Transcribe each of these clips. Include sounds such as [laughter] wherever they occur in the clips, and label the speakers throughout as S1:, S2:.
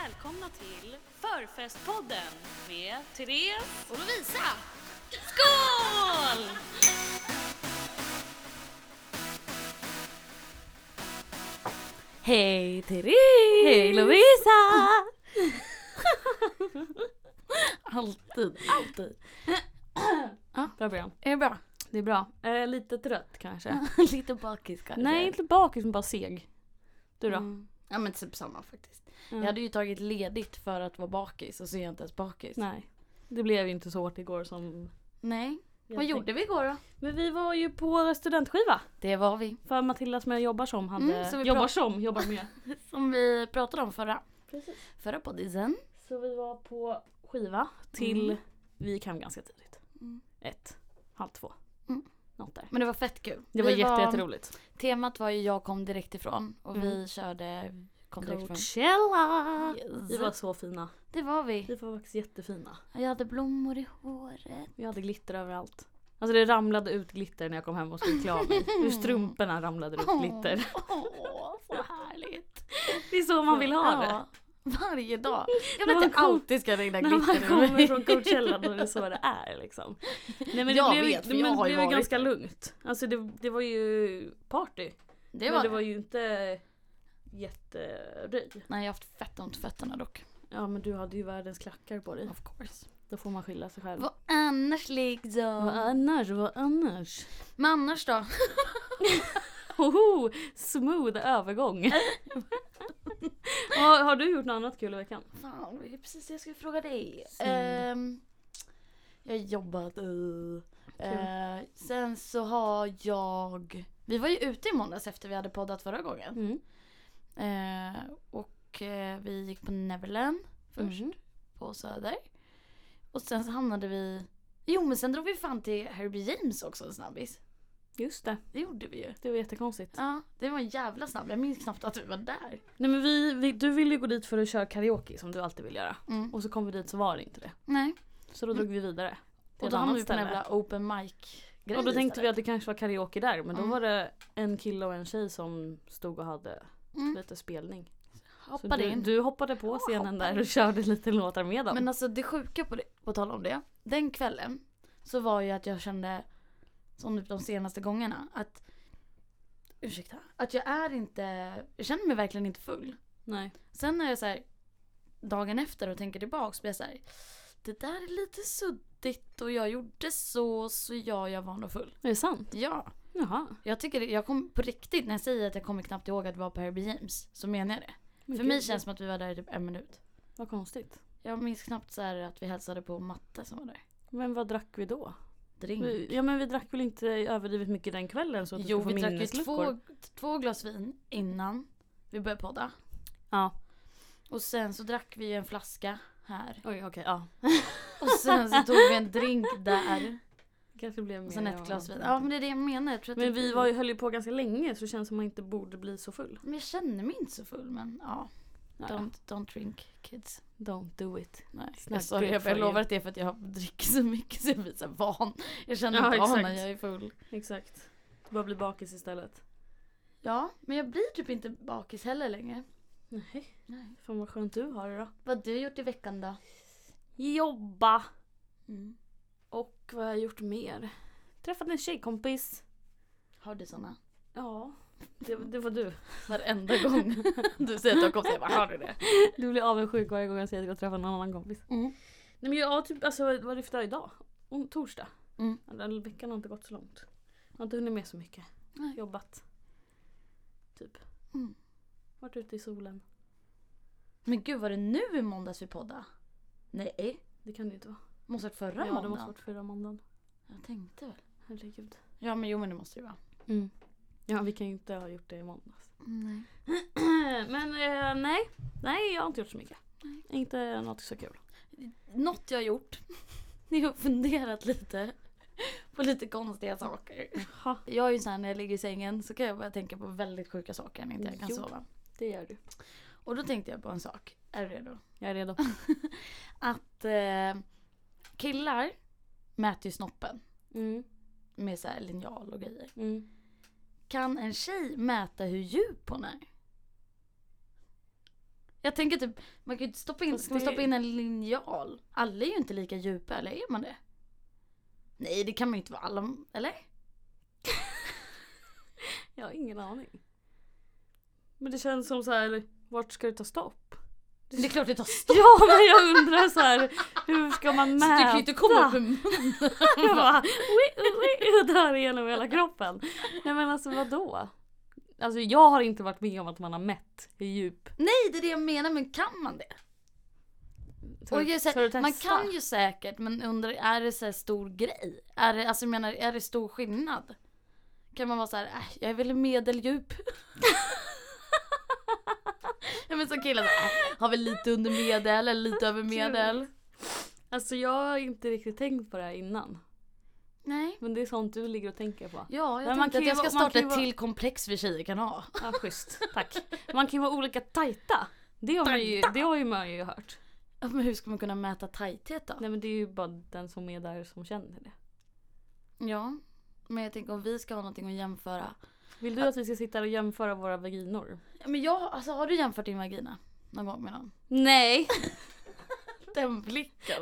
S1: välkomna till Förfestpodden med Therese
S2: Och Lovisa!
S1: Skål! Hej Therese!
S3: Hej Lovisa!
S1: Alltid, alltid. Ja, bra början.
S3: Är det bra?
S1: Det är bra. Eh, lite trött kanske.
S3: [laughs] Lite bakis kanske?
S1: Nej, inte bakis men bara seg. Du då?
S3: Mm. Ja men typ samma faktiskt.
S1: Mm.
S3: Jag hade ju tagit ledigt för att vara bakis och så är jag inte ens bakis.
S1: Nej. Det blev ju inte så hårt igår som...
S3: Nej.
S1: jag
S3: Vad
S1: tänkte.
S3: gjorde vi igår då?
S1: Men vi var ju på studentskiva.
S3: Det var vi.
S1: För Matilda som jag jobbar som hade...
S3: Mm, så vi
S1: jobbar
S3: pratar-
S1: som, jobbar med.
S3: Som vi pratade om förra.
S1: [laughs] Precis.
S3: Förra poddisen.
S1: Så vi var på skiva till...
S3: Mm.
S1: Vi gick hem ganska tidigt.
S3: Mm.
S1: Ett, halv två.
S3: Mm.
S1: Något där.
S3: Men det var fett kul.
S1: Det var
S3: Vi
S1: jätte- jätteroligt. Mm.
S3: Temat var ju jag kom direkt ifrån och vi körde kom direkt ifrån.
S1: Coachella! Vi
S3: Yes.
S1: var så fina.
S3: Det var vi.
S1: Vi var faktiskt jättefina.
S3: Jag hade blommor i håret.
S1: Vi hade glitter överallt. Alltså det ramlade ut glitter när jag kom hem och skulle klä av [laughs] mig. Ur strumporna ramlade det ut glitter.
S3: Åh, åh, så härligt.
S1: Det är så man vill ha det.
S3: Ja, varje dag.
S1: När
S3: Jag vill
S1: man
S3: att det
S1: kom-
S3: alltid ska regna
S1: När man
S3: glitter över
S1: kommer
S3: mig.
S1: från Coachella då är det så det är liksom. Nej men det
S3: Jag
S1: blev,
S3: vet, för
S1: men
S3: jag
S1: det
S3: har ju
S1: blev
S3: varit
S1: ganska
S3: där.
S1: lugnt. Alltså det, det var ju party.
S3: Det
S1: men
S3: var
S1: det
S3: det.
S1: var ju inte jätteröj.
S3: Nej, jag har haft fett ont i fötterna dock.
S1: Ja men du hade ju världens klackar på dig.
S3: Of course.
S1: Då får man skylla sig själv.
S3: Vad annars
S1: Vad
S3: liksom?
S1: annars, vad [laughs] annars?
S3: Men annars då?
S1: Hoho, smooth övergång. [laughs] har, har du gjort något annat kul i veckan?
S3: Fan, det är precis det jag skulle fråga dig.
S1: Synd.
S3: Ehm, jag har jobbat. eh. Eh, sen så har jag... Vi var ju ute i måndags efter vi hade poddat förra gången.
S1: Mm.
S3: Eh, och eh, vi gick på Neverland först.
S1: Mm.
S3: på Söder. Och sen så hamnade vi... Jo men sen drog vi fan till Herbie James också en snabbis.
S1: Just det,
S3: Det gjorde vi ju.
S1: det var jättekonstigt.
S3: Ja, det var en jävla snabb. Jag minns knappt att vi var där.
S1: Nej men vi, vi, du ville ju gå dit för att köra karaoke som du alltid vill göra.
S3: Mm.
S1: Och så kom vi dit så var det inte det.
S3: Nej.
S1: Så då drog vi vidare. Mm. till
S3: Och
S1: ett
S3: då
S1: annat
S3: hamnade vi på en
S1: ställe.
S3: jävla open mic grej
S1: Och då tänkte vi att det kanske var karaoke där men då
S3: Mm.
S1: var det en kille och en tjej som stod och hade
S3: Mm.
S1: lite spelning. Så
S3: Hoppade
S1: du,
S3: in.
S1: du hoppade på scenen
S3: hoppade
S1: där och körde lite låtar med dem.
S3: Men alltså det sjuka på det, på tal om det. Den kvällen så var ju att jag kände, som typ de senaste gångerna, att Ursäkta. Att jag är inte, jag känner mig verkligen inte full.
S1: Nej.
S3: Sen när jag så här, dagen efter och tänker tillbaka så blir jag så här, det där är lite suddigt och jag gjorde så så ja, jag var nog full.
S1: Är det sant?
S3: Ja.
S1: Jaha.
S3: Jag tycker det- jag kom på riktigt när jag säger att jag kommer knappt ihåg att det var på Herbie James så menar jag det.
S1: Men
S3: För
S1: gud,
S3: mig känns det som att vi var där i typ en minut.
S1: Vad konstigt.
S3: Jag minns knappt så här att vi hälsade på matte som var där.
S1: Men vad drack vi då?
S3: Drink.
S1: Vi, ja men vi drack väl inte överdrivet mycket den kvällen så att du
S3: jo,
S1: skulle
S3: vi
S1: få
S3: drack ju
S1: minnesluckor?
S3: två, två glas vin innan vi började podda.
S1: Ja.
S3: Och sen så drack vi en flaska här.
S1: Oj okej, [laughs] ja.
S3: Och sen så tog vi en drink
S1: [laughs]
S3: där.
S1: Kanske blev mer
S3: Och sen
S1: än
S3: ett
S1: vad
S3: glas
S1: man
S3: vin.
S1: tänkte.
S3: Ja men det är det jag menar. Jag tror att
S1: Men
S3: det-
S1: vi var ju, höll ju på ganska länge så känns som man inte borde bli så full.
S3: Men jag känner mig inte så full men ja. Don't, don't drink kids.
S1: Don't do it.
S3: Nej.
S1: Snacka
S3: Jag, sorry, jag,
S1: för
S3: jag
S1: er.
S3: lovar att det är för att jag dricker så mycket så jag blir så här van. Jag känner
S1: Ja,
S3: inte av
S1: exakt.
S3: när jag är full.
S1: Exakt. Du bara bli bakis istället.
S3: Ja men jag blir typ inte bakis heller längre.
S1: Nej.
S3: Nej.
S1: Fan vad skönt du har det då.
S3: Vad har du gjort i veckan då?
S1: Jobba.
S3: Mm.
S1: Och vad har jag gjort mer? Träffat en tjejkompis.
S3: Har du såna?
S1: Ja, det, det var du.
S3: Varenda
S1: [laughs]
S3: gång [laughs] du säger att du har kommit jag bara har du det?
S1: Du blir avundsjuk varje gång jag säger att jag träffar en annan kompis.
S3: Mm.
S1: Nej men jag har typ, alltså vad är det för dag idag? Om, torsdag.
S3: Mm.
S1: Ja, Den veckan har inte gått så långt. Jag har inte hunnit med så mycket.
S3: Nej.
S1: Jobbat. Typ.
S3: Mm.
S1: Varit ute i solen.
S3: Men gud var det nu i måndags vi poddade? Nej.
S1: Det kan det ju inte vara.
S3: Måste varit förra
S1: ja, det måste
S3: måndagen.
S1: varit förra måndagen.
S3: Jag tänkte väl.
S1: Herregud.
S3: Ja men jo men det måste det ju vara.
S1: Mm. Ja, vi kan ju inte ha gjort det i måndags.
S3: Nej.
S1: [clears throat] Men eh, nej. Nej, jag har inte gjort så mycket. Inte något så
S3: [laughs]
S1: kul.
S3: Något jag har gjort. [laughs] Jag har funderat lite på lite konstiga saker.
S1: Ha,
S3: Jag är ju såhär när jag ligger i sängen så kan jag börja tänka på väldigt sjuka saker när inte jag kan
S1: Jo.
S3: sova.
S1: det gör du.
S3: Och då tänkte jag på en sak. Är du redo?
S1: Jag är
S3: [laughs]
S1: redo.
S3: Att eh, killar mäter ju snoppen
S1: Mm,
S3: med så här linjal och grejer.
S1: mm.
S3: Kan en tjej mäta hur djup hon är? Jag tänker typ, man kan ju inte stoppa in,
S1: Fast
S3: ska man
S1: det-
S3: stoppa in en linjal? Alla är ju inte lika djupa, eller är man det? Nej det kan man ju inte vara, alla, eller?
S1: Jag har ingen aning. Men det känns som så här, vart ska det ta stopp? [laughs]
S3: Det är klart det tar stopp!
S1: Ja men jag undrar så här, hur ska man
S3: Så
S1: mäta?
S3: [laughs] du kan ju inte komma upp med munnen.
S1: [laughs] Jag bara, ui, ui, ui, drar igenom hela kroppen. Nej men alltså vadå? Alltså jag har inte varit med om att man har mätt hur djup.
S3: Nej det är det jag menar, men kan man det?
S1: Ska
S3: Och
S1: du-
S3: jag
S1: ska du
S3: säger, man
S1: testa?
S3: kan ju säkert men undrar, är det så här stor grej? Är det, alltså jag menar, är det stor skillnad? Kan man vara så här, äh, jag är väl medeldjup? [laughs] ja men som killar, så här, äh, har väl lite under medel eller lite över medel.
S1: Alltså jag har inte riktigt tänkt på det här innan.
S3: Nej.
S1: Men det är sånt du ligger och tänker på.
S3: Ja, jag
S1: Men man
S3: tänkte
S1: kan
S3: att
S1: ju
S3: jag ska
S1: vara- man
S3: starta
S1: kan ju
S3: ett
S1: vara-
S3: till komplex vi tjejer kan ha.
S1: Ja schysst, tack. Man kan ju vara olika tajta. Det har, man ju,
S3: Tajta.
S1: det har ju man ju hört.
S3: Ja, Men hur ska man kunna mäta tajthet då?
S1: Nej men det är ju bara den som är där som känner det.
S3: Ja, men jag tänker om vi ska ha någonting att jämföra.
S1: Vill du att vi ska sitta här och jämföra våra vaginor?
S3: Ja, Men jag, alltså har du jämfört din vagina någon gång med någon?
S1: Nej!
S3: Den [laughs] blicken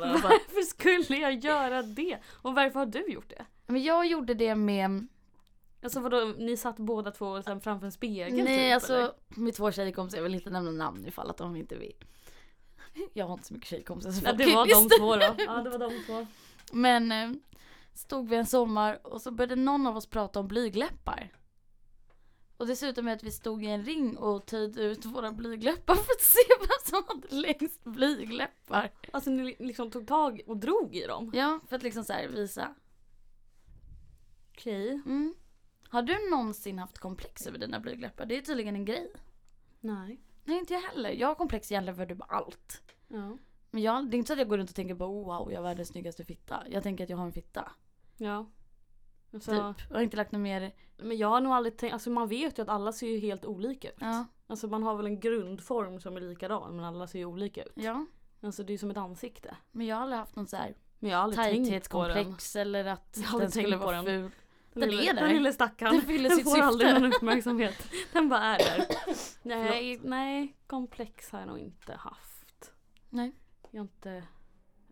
S1: [laughs] Varför skulle jag göra det? Och varför har du gjort det?
S3: Men jag gjorde det med,
S1: Alltså vadå, ni satt båda två sen framför en spegel
S3: nej
S1: typ,
S3: alltså
S1: eller?
S3: med två tjejkompisar, jag vill inte nämna namn ifall att de inte vill. Jag har inte så mycket tjejkompisar så
S1: Ja,
S3: folk
S1: det var
S3: visste.
S1: de två
S3: [laughs]
S1: då. Ja det var de två.
S3: Men eh, stod vi en sommar och så började någon av oss prata om blygläppar. Och dessutom med att vi stod i en ring och töjde ut våra blygläppar för att se vem som hade längst blygläppar.
S1: Alltså ni li- liksom tog tag och drog i dem.
S3: Ja, för att liksom så här visa.
S1: Okej.
S3: Mm. Har du någonsin haft komplex över dina blygläppar? Det är tydligen en grej.
S1: Nej.
S3: Nej, inte jag heller. Jag har komplex egentligen för typ allt.
S1: Ja.
S3: Men jag, det är inte så att jag går runt och tänker på oh, wow, jag är världens snyggaste fitta. Jag tänker att jag har en fitta.
S1: Ja. Alltså,
S3: Typ. Jag har inte lagt något mer.
S1: Men jag har nog aldrig tänkt, alltså man vet ju att alla ser ju helt olika ut.
S3: Ja.
S1: Alltså man har väl en grundform som är likadan men alla ser ju olika ut.
S3: ja.
S1: Alltså det är ju som ett ansikte.
S3: Men jag har aldrig haft någon så här
S1: Men jag har aldrig tänkt på den.
S3: tajthetskomplex eller att
S1: Jag har aldrig
S3: den skulle
S1: tänkt på
S3: vara
S1: den.
S3: ful.
S1: [laughs] Den,
S3: Den
S1: lille,
S3: är där.
S1: den lille
S3: [laughs]
S1: stackaren.
S3: Den fyller sitt
S1: får
S3: syfte.
S1: aldrig någon uppmärksamhet.
S3: [laughs]
S1: Den bara är där. nej, nej, komplex har jag nog inte haft.
S3: Nej.
S1: Jag har inte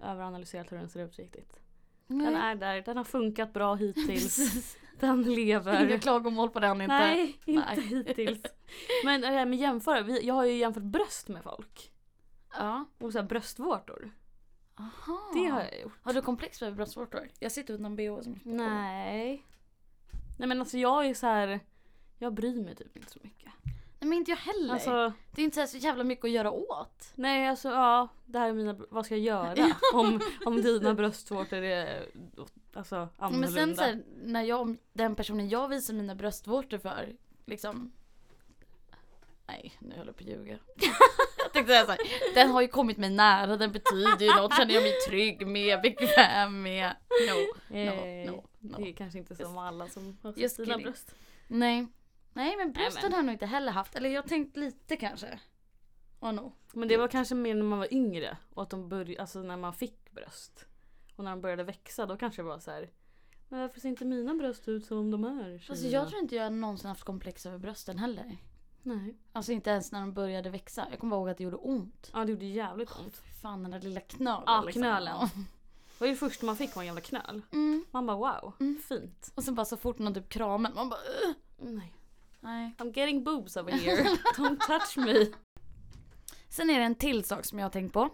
S1: överanalyserat hur den ser ut riktigt. Den
S3: Nej.
S1: är där, den har funkat bra [laughs]
S3: [laughs]
S1: hittills. Den lever.
S3: Inga klagomål på den inte.
S1: Nej, inte
S3: Nej.
S1: hittills. Men det här med jämföra, vi, jag har ju jämfört bröst med folk.
S3: Ja.
S1: Och så här bröstvårtor.
S3: Aha.
S1: Det har jag gjort.
S3: Har du komplex med bröstvårtor? Jag sitter utan bh som
S1: Nej. Nej men alltså jag är så här. jag bryr mig typ inte så mycket.
S3: Nej men inte jag heller.
S1: Alltså,
S3: Det är inte så, här så jävla mycket att göra åt.
S1: nej alltså ja, det här är mina, vad ska jag göra? [laughs] Om, om dina bröstvårtor är alltså, annorlunda.
S3: Men sen så här, när jag, om den personen jag visar mina bröstvårtor för, liksom. Nej, nu höll jag på att ljuga. [laughs] jag tänkte säga så här, den har ju kommit mig nära, den betyder ju något, känner jag mig trygg med, bekväm med. No,
S1: Eh,
S3: no, no,
S1: Det
S3: no.
S1: är kanske inte
S3: Just-
S1: som alla som har
S3: just
S1: sina
S3: kidding.
S1: bröst.
S3: Nej. Nej men brösten
S1: men-
S3: har jag nog inte heller haft, eller jag har tänkt lite kanske. Ja nog.
S1: Men det var kanske mer när man var yngre och att de började, alltså när man fick bröst. Och när de började växa då kanske det var så här. Men varför ser inte mina bröst ut som de här
S3: Alltså
S1: tjejerna?"
S3: jag tror inte jag någonsin haft komplex över brösten heller.
S1: Nej.
S3: Alltså inte ens när de började växa. Jag kommer bara ihåg att det gjorde ont.
S1: Ja det gjorde jävligt ont.
S3: Fy fan den där lilla Ah, knölen. liksom.
S1: Ja, knölen. Det var ju det första man fick var en jävla knöl.
S3: Mm.
S1: Man bara wow,
S3: Mm.
S1: fint.
S3: Och sen bara så fort någon typ kramar man bara "Ugh."
S1: Nej.
S3: Nej.
S1: I'm getting boobs over here. [laughs] Don't touch me.
S3: Sen är det en till sak som jag har tänkt på.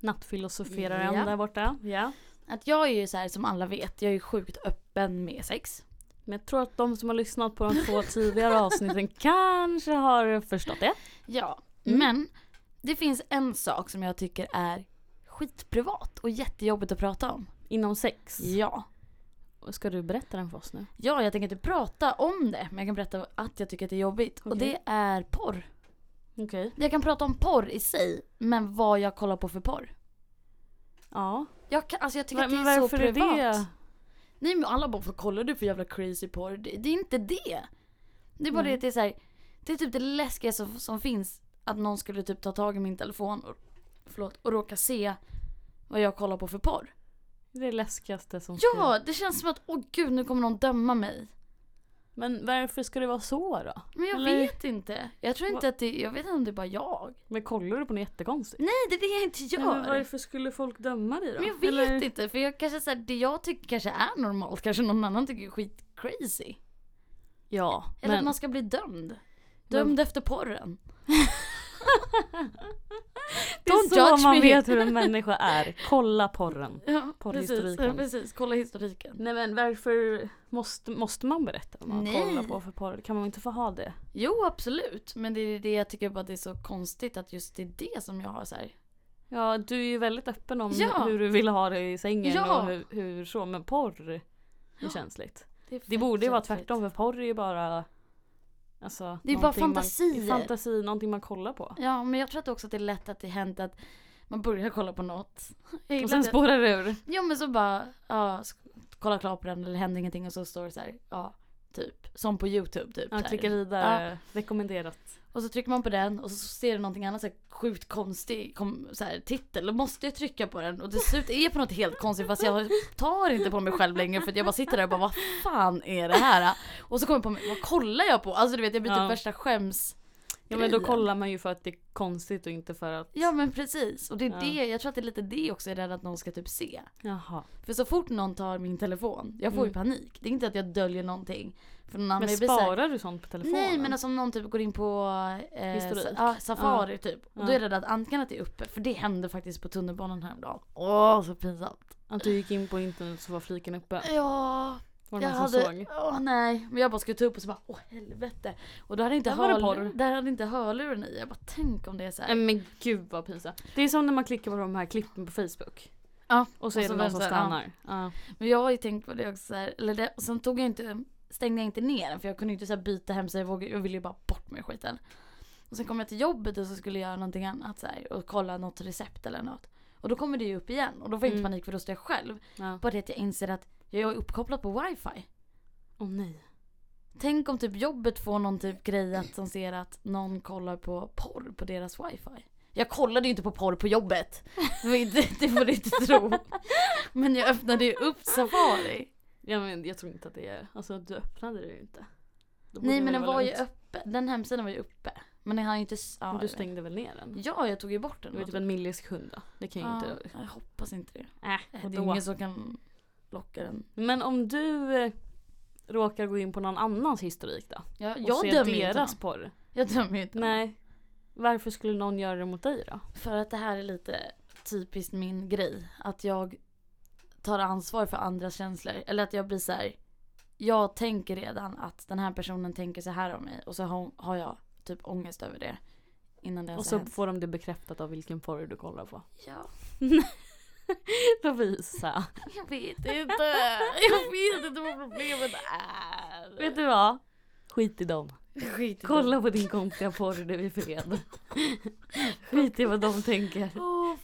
S1: Nattfilosoferaren
S3: Ja.
S1: där borta. Ja.
S3: Att jag är ju så här som alla vet, jag är ju sjukt öppen med sex.
S1: Men jag tror att de som har lyssnat på de två [laughs] tidigare avsnitten kanske har förstått det.
S3: Ja.
S1: Mm.
S3: Men det finns en sak som jag tycker är skitprivat och jättejobbigt att prata om.
S1: Inom sex.
S3: Ja.
S1: Ska du berätta den för oss nu?
S3: Ja, jag tänker inte prata om det, men jag kan berätta att jag tycker att det är jobbigt. Och
S1: Okej.
S3: det är porr.
S1: Okej.
S3: Jag kan prata om porr i sig, men vad jag kollar på för porr.
S1: Ja.
S3: Jag, kan, alltså jag tycker
S1: Men-
S3: att det
S1: men
S3: är så
S1: varför är
S3: privat.
S1: det?
S3: Nej men alla bara, vad kollar du för jävla crazy porr? Det, det är inte det. Det är bara
S1: Nej.
S3: det att det är så här, det är typ det läskigaste som, som finns. Att någon skulle typ ta tag i min telefon och, förlåt, och råka se vad jag kollar på för porr.
S1: Det är det läskigaste som
S3: Ja, det känns som att åh gud nu kommer någon döma mig.
S1: Men varför ska det vara så då?
S3: Men jag
S1: Eller-
S3: vet inte. Jag tror inte att det, jag vet inte om det är bara jag.
S1: Men kollar du på något jättekonstigt?
S3: Nej det är det jag inte
S1: Nej, men
S3: gör.
S1: varför skulle folk döma dig då?
S3: Men jag vet
S1: Eller-
S3: inte för jag kanske så här, det jag tycker kanske är normalt kanske någon annan tycker är skit crazy.
S1: Ja,
S3: Eller att
S1: men
S3: man ska bli dömd. Dömd efter porren.
S1: det är
S3: Don't
S1: så
S3: judge
S1: man
S3: me.
S1: vet hur [laughs] en människa är. Kolla porren.
S3: Ja, precis,
S1: Porrhistoriken.
S3: ja, precis. Kolla historiken.
S1: Nej men varför måste, måste man berätta vad man
S3: Nej.
S1: kollar på för porr? Kan man inte få ha det?
S3: Jo absolut men det är det jag tycker bara det är så konstigt att just det är det som jag har så här.
S1: Ja du är ju väldigt öppen om
S3: Ja.
S1: hur du vill ha det i sängen
S3: Ja.
S1: och hur, hur så men porr är
S3: Ja.
S1: känsligt.
S3: är
S1: Det borde ju vara
S3: fett
S1: tvärtom för porr är ju bara alltså,
S3: Det är bara
S1: någonting Man,
S3: fantasier.
S1: fantasi, någonting man kollar på.
S3: Ja men jag tror att också att det är lätt att det hänt att man börjar kolla på något. [laughs] Jag
S1: Och
S3: gillar
S1: sen
S3: det.
S1: spårar det ur.
S3: Ja men så bara, ja, sk- kolla klart på den eller händer ingenting och så står det så här, ja, typ. Som på YouTube typ.
S1: Ja,
S3: så här.
S1: klicka vidare. Rekommenderat.
S3: Och så trycker man på den och så ser det någonting annat så här, sjukt konstig kom, så här, titel. Då måste jag trycka på den och till slut är jag på något helt konstigt fast jag tar inte på mig själv längre för att jag bara sitter där och bara vad fan är det här? Och så kommer jag på mig, vad kollar jag på? Alltså du vet jag blir
S1: Ja.
S3: typ värsta skäms...
S1: Ja men då
S3: grejen.
S1: kollar man ju för att det är konstigt och inte för att
S3: Ja men precis. Och det är
S1: Ja.
S3: det, jag tror att det är lite det också jag är rädd att någon ska typ se.
S1: Jaha.
S3: För så fort någon tar min telefon, jag får ju panik. Det är inte att jag döljer någonting. För någon annan
S1: Mm. Men
S3: jag blir så här-
S1: sparar du sånt på telefonen?
S3: Nej men alltså om någon typ går in på eh,
S1: Historik.
S3: sa- ja, Safari typ. Och då
S1: Ja.
S3: är jag rädd att antingen att det är uppe, för det hände faktiskt på tunnelbanan häromdagen. Åh så pinsamt.
S1: Att du gick in på internet så var fliken uppe?
S3: Ja,
S1: Var det
S3: jag
S1: någon
S3: hade,
S1: som såg?
S3: åh nej. Men jag bara skulle ta upp och så bara, åh helvete. Och då hade jag inte,
S1: Där var det porr.
S3: hörlur, där hade jag inte hörluren i. Jag bara, tänk om det är så här.
S1: Nej men gud vad pinsamt. Det är som när man klickar på de här klippen på Facebook.
S3: Ja,
S1: Och så är
S3: och så
S1: det
S3: var
S1: någon
S3: det
S1: som
S3: så här,
S1: stannar. Ja.
S3: Men jag har ju tänkt på det också så här, eller det, och sen tog jag inte, stängde jag inte ner den för jag kunde inte så här byta hemsida, jag, vågade, jag ville ju bara bort med skiten. Och sen kom jag till jobbet och så skulle jag göra någonting annat så här, och kolla något recept eller något. Och då kommer det ju upp igen och då får jag inte
S1: Mm.
S3: panik för då står jag själv.
S1: Ja.
S3: Bara det att jag inser att jag är uppkopplad på wifi.
S1: Åh nej.
S3: Tänk om typ jobbet får någon typ grej att som ser att någon kollar på porr på deras wifi. Jag kollade ju inte på porr på jobbet. Det, var inte, det får du inte tro.
S1: [laughs]
S3: Men jag öppnade ju upp Safari.
S1: Ja, men jag tror inte att det är... Alltså du öppnade det ju inte. Då borde
S3: Nej
S1: det
S3: men
S1: väl
S3: den
S1: vara
S3: var ju
S1: lugnt.
S3: öppen, den hemsidan var ju uppe. Men den hann ju inte... s- Ja,
S1: Men
S3: jag
S1: du
S3: vet.
S1: stängde väl ner den?
S3: Ja, jag tog ju bort den.
S1: Det var typ en millisekund då. Det kan ju
S3: ja,
S1: inte...
S3: jag hoppas inte det. Eh,
S1: Äh,
S3: Det
S1: och
S3: är
S1: då.
S3: ingen som kan locka den.
S1: Men om du eh, råkar gå in på någon annans historik då?
S3: Jag,
S1: Och
S3: jag
S1: ser
S3: dömer ju inte
S1: deras
S3: någon.
S1: porr?
S3: Jag dömer ju inte någon.
S1: Nej. Varför skulle någon göra det mot dig då?
S3: För att det här är lite typiskt min grej. Att jag tar ansvar för andras känslor. Eller att jag blir så här. Jag tänker redan att den här personen tänker så här om mig. Och så har, har jag typ ångest över det. Innan det
S1: Och
S3: ens
S1: så
S3: har hänt.
S1: får de det bekräftat av vilken porr du kollar
S3: [laughs]
S1: på.
S3: Ja,
S1: Då visa.
S3: jag vet inte. Jag vet inte vad problemet är.
S1: Vet du vad? Skit i dem.
S3: Typ Skit i
S1: Kolla på din konstiga porr nu i fred. [laughs] Skit i vad de tänker.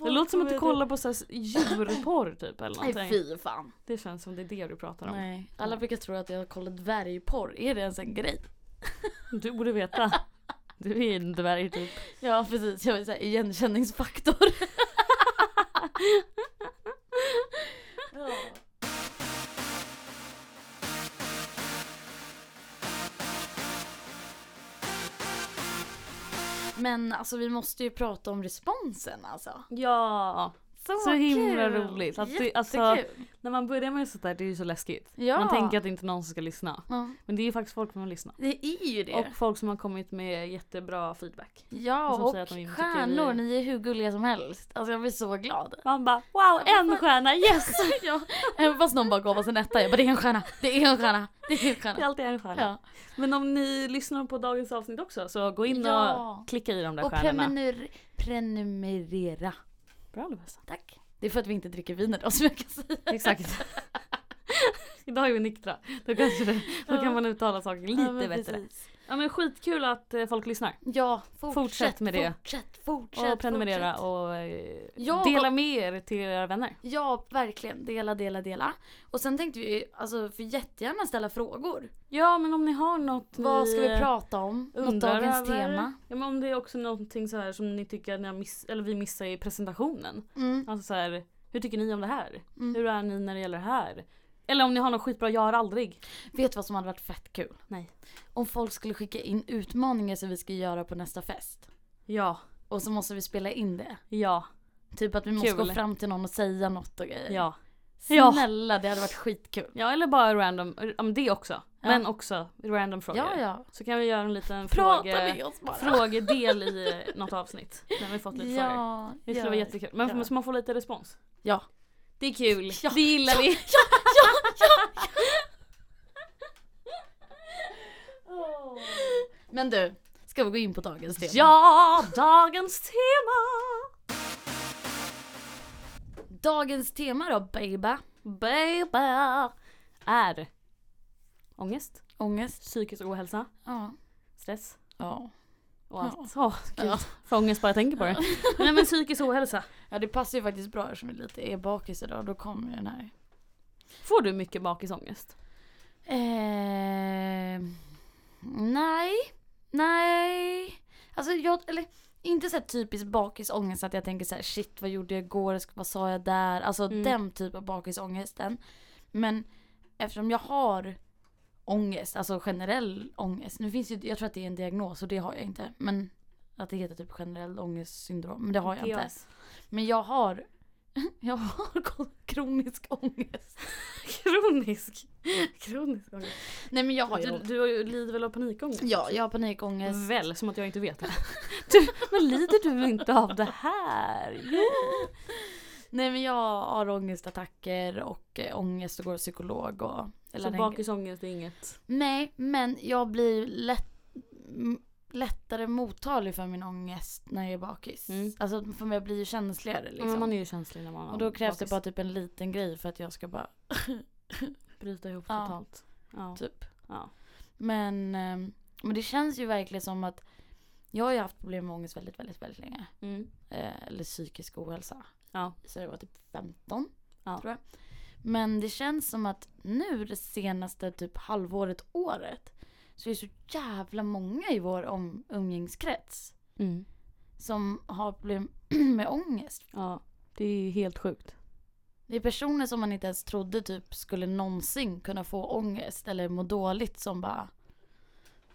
S1: Det låter som att du kollar på så här djurporr typ eller
S3: Nej
S1: någonting.
S3: fy fan.
S1: Det känns som det är det du pratar om.
S3: Nej. Alla brukar tro att jag kollar dvärgporr. Är det ens en grej?
S1: Du borde [laughs] veta. Du är en dvärg typ.
S3: Ja precis, jag vill säga igenkänningsfaktor. ja. Men alltså vi måste ju prata om responsen alltså.
S1: Ja. Så himla
S3: kul.
S1: roligt. Att det,
S3: Jättekul.
S1: alltså, när man börjar med sånt där det är ju så läskigt.
S3: ja.
S1: Man tänker att det inte är någon som ska lyssna.
S3: Ja,
S1: Men det är ju faktiskt folk som har lyssnat.
S3: det är ju det.
S1: Och folk som har kommit med jättebra feedback.
S3: Ja,
S1: Och som
S3: och,
S1: säger att de inte tycker
S3: stjärnor,
S1: vi-
S3: ni är hur gulliga som helst. Alltså jag blir så glad.
S1: Man bara wow en stjärna yes!
S3: [laughs] ja, även fast någon bara gav oss en etta, jag bara det är en stjärna, det är en stjärna, det är en
S1: Det är
S3: stjärna.
S1: alltid en stjärna.
S3: Ja.
S1: Men om ni lyssnar på dagens avsnitt också så gå in
S3: Ja.
S1: och klicka i de där
S3: Och
S1: stjärnorna.
S3: prenumer- prenumerera.
S1: Bra Lovisa.
S3: Tack. Det är för att vi inte dricker vin idag som jag kan säga.
S1: Exakt. [laughs] Idag är vi nyktra. Då, kanske det, då
S3: [laughs] Ja.
S1: kan man uttala saker lite bättre. Ja men skitkul att eh, folk lyssnar.
S3: Ja, fortsätt,
S1: Fortsätt med det.
S3: Fortsätt, fortsätt.
S1: Och prenumerera
S3: fortsätt.
S1: och eh,
S3: Ja,
S1: dela med er till era vänner.
S3: Ja, verkligen. Dela, dela, dela. Och sen tänkte vi ju, alltså får jättegärna ställa frågor.
S1: Ja men om ni har något
S3: Vad
S1: ni,
S3: ska vi
S1: eh,
S3: prata om? Något
S1: undrar
S3: dagens
S1: över.
S3: tema?
S1: Ja, men om det är också någonting så här som ni tycker att ni har miss, eller vi missar i presentationen.
S3: Mm.
S1: Alltså så här, hur tycker ni om det här?
S3: Mm.
S1: Hur är ni när det gäller det här? Eller om ni har något skitbra, jag har aldrig.
S3: Vet du vad som hade varit fett kul?
S1: Nej.
S3: Om folk skulle skicka in utmaningar som vi ska göra på nästa fest.
S1: Ja,
S3: Och så måste vi spela in det.
S1: ja,
S3: Typ att vi måste
S1: Kul.
S3: gå fram till någon och säga något och grejer.
S1: ja. Ja.
S3: Snälla, det hade varit skitkul.
S1: Ja eller bara random, ja, men det också. Men också random frågor.
S3: Ja, ja.
S1: Så kan vi göra en liten
S3: Prata
S1: fråge,
S3: med oss bara.
S1: frågedel i eh, något avsnitt. När vi fått lite frågor.
S3: ja,
S1: Det skulle
S3: ja.
S1: vara jättekul. Men
S3: Ja.
S1: så man får lite respons.
S3: Ja.
S1: Det är kul,
S3: [laughs] Ja.
S1: det gillar vi.
S3: Men du, ska vi gå in på dagens tema?
S1: Ja, dagens tema!
S3: Dagens tema då baby.
S1: Baby! Är ångest,
S3: Ångest.
S1: psykisk ohälsa,
S3: Ja.
S1: stress
S3: Ja.
S1: och allt. Åh gud,
S3: Ja.
S1: får ångest bara jag tänker på det. Nej men psykisk ohälsa.
S3: ja, det passar ju faktiskt bra eftersom vi lite är bakis idag. Då kommer den här.
S1: Får du mycket bakisångest?
S3: Eh, nej. Nej. Alltså jag, eller inte så här typisk bakisångest att jag tänker så här shit vad gjorde jag igår, vad sa jag där? Alltså
S1: Mm.
S3: den typ av bakisångesten. Men eftersom jag har ångest, alltså generell ångest. Nu finns ju, jag tror att det är en diagnos och det har jag inte. Men att det heter typ generell ångestsyndrom, men det har jag inte. Men jag har, [laughs] jag har [laughs] kronisk ångest.
S1: Kronisk. Kronisk ångest.
S3: Nej men jag har ju
S1: Du, du har ju- lider väl av panikångest?
S3: Ja, jag har panikångest.
S1: Väl, som att jag inte vet det. [laughs] Du, men lider du inte av det här? Jo.
S3: Nej men jag har ångestattacker och eh, ångest och går psykolog och...
S1: Så
S3: Eller den-
S1: bakisångest är inget.
S3: Nej, men jag blir lätt, m- lättare mottaglig för min ångest när jag är bakis.
S1: Mm.
S3: Alltså för jag blir ju känsligare liksom.
S1: Men Mm, man är ju känslig när man har
S3: och då krävs
S1: bakis.
S3: det bara typ en liten grej för att jag ska bara
S1: bryta ihop
S3: Ja.
S1: totalt. Ja.
S3: typ.
S1: Ja.
S3: Men, eh, men det känns ju verkligen som att jag har ju haft problem med ångest väldigt, väldigt, väldigt länge.
S1: Mm.
S3: eh, eller psykisk ohälsa.
S1: Ja.
S3: Så jag var typ 15,
S1: Ja.
S3: tror jag. Men det känns som att nu det senaste typ halvåret, året, så är det så jävla många i vår om, umgängskrets
S1: Mm.
S3: som har problem [clears throat] med ångest.
S1: ja, det är ju helt sjukt.
S3: Det är personer som man inte ens trodde typ skulle någonsin kunna få ångest eller må dåligt som bara...